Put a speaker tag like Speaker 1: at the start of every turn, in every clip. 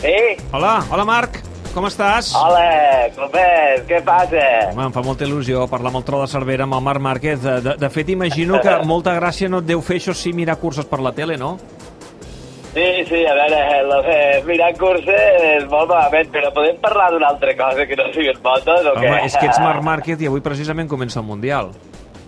Speaker 1: Sí?
Speaker 2: Hola, hola Marc, com estàs?
Speaker 1: Hola, copets, què passa?
Speaker 2: Home, em fa molta il·lusió parlar amb el Tro de Cervera, amb el Marc Márquez. De, de, de fet, imagino que molta gràcia no et deu fer això si mirar curses per la tele, no?
Speaker 1: Sí, sí, a veure, lo de mirar curses és molt malament, però podem parlar d'una altra cosa que no siguin motos o què?
Speaker 2: Home, és que ets Marc Márquez i avui precisament comença el Mundial.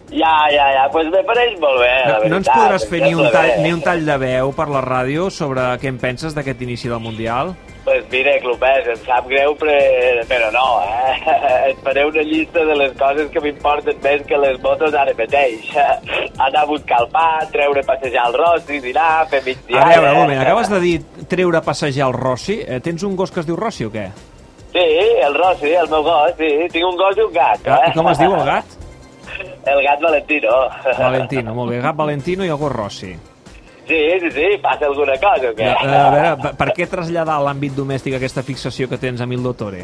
Speaker 1: Ja, ja, ja, doncs pues me pareix molt bé, la
Speaker 2: No,
Speaker 1: veritat.
Speaker 2: no ens podràs fer
Speaker 1: em
Speaker 2: ni un,
Speaker 1: sembla
Speaker 2: tall,
Speaker 1: bé.
Speaker 2: ni un tall de veu per la ràdio sobre què en penses d'aquest inici del Mundial?
Speaker 1: Pues mira, Clopès, em sap greu, però, però no, eh? Et faré una llista de les coses que m'importen més que les motos ara mateix. Anar a buscar el pa, treure a passejar el rossi, dinar, fer eh? migdiada...
Speaker 2: A veure, un moment, acabes de dir treure a passejar el Rossi. Eh, Tens un gos que es diu Rossi o què?
Speaker 1: Sí, el Rossi, el meu gos, sí. Tinc un gos i un gat. eh?
Speaker 2: I com es diu el gat?
Speaker 1: El gat Valentino.
Speaker 2: Valentino, molt bé. Gat Valentino i el gos Rossi.
Speaker 1: Sí, sí, sí, passa alguna cosa o
Speaker 2: Eh,
Speaker 1: què?
Speaker 2: A veure, per- per què traslladar a l'àmbit domèstic aquesta fixació que tens a Mildo Tore?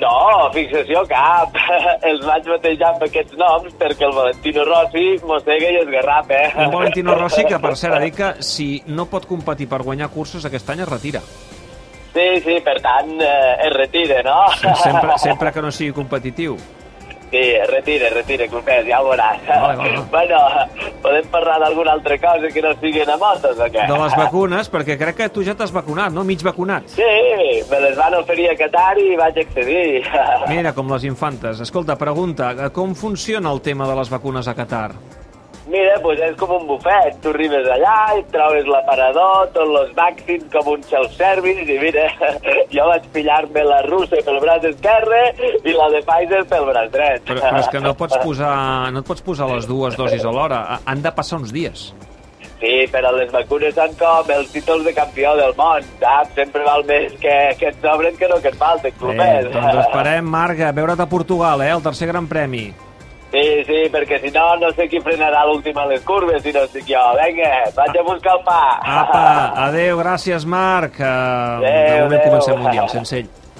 Speaker 1: No, fixació cap. Els vaig batejar amb aquests noms perquè el Valentino Rossi mossega i eh? esgarrapa.
Speaker 2: Un Valentino Rossi que, per cert, ha dit que si no pot competir per guanyar curses aquest any es retira.
Speaker 1: Sí, sí, per tant, eh, es retira, no?
Speaker 2: Sempre, sempre que no sigui competitiu.
Speaker 1: Sí, es retira, es retira, Clopés, ja ho veuràs.
Speaker 2: Vale, vale, vale.
Speaker 1: Bueno, podem parlar d'alguna altra cosa que no siguin a motos o què?
Speaker 2: De les vacunes, perquè crec que tu ja t'has vacunat, no? Mig vacunat.
Speaker 1: Sí, me les van oferir a Qatar i vaig accedir.
Speaker 2: Mira, com les infantes. Escolta, pregunta, eh, com funciona el tema de les vacunes a Qatar?
Speaker 1: Mira, doncs és com un bufet. Tu arribes allà i trobes l'aparador, tots els vaccins com un self-service i mira, jo vaig pillar-me la russa pel braç esquerre i la de Pfizer pel braç dret.
Speaker 2: Però, però és que no, pots posar, no et pots posar les dues dosis alhora. Ha- Han de passar uns dies.
Speaker 1: Sí, però les vacunes són com els títols de campió del món, saps? Sempre val més que, que et sobren que no que et falten,
Speaker 2: Bé,
Speaker 1: clubers.
Speaker 2: doncs esperem, Marc, a veure't a Portugal, eh? El tercer gran premi.
Speaker 1: Sí, sí, perquè si no, no sé qui frenarà l'últim a les curves, si no estic jo. Vinga, vaig a buscar el pa.
Speaker 2: Apa, adeu, gràcies, Marc. Eh,
Speaker 1: Adéu,
Speaker 2: de moment
Speaker 1: adéu.
Speaker 2: comencem un dia, sense ell.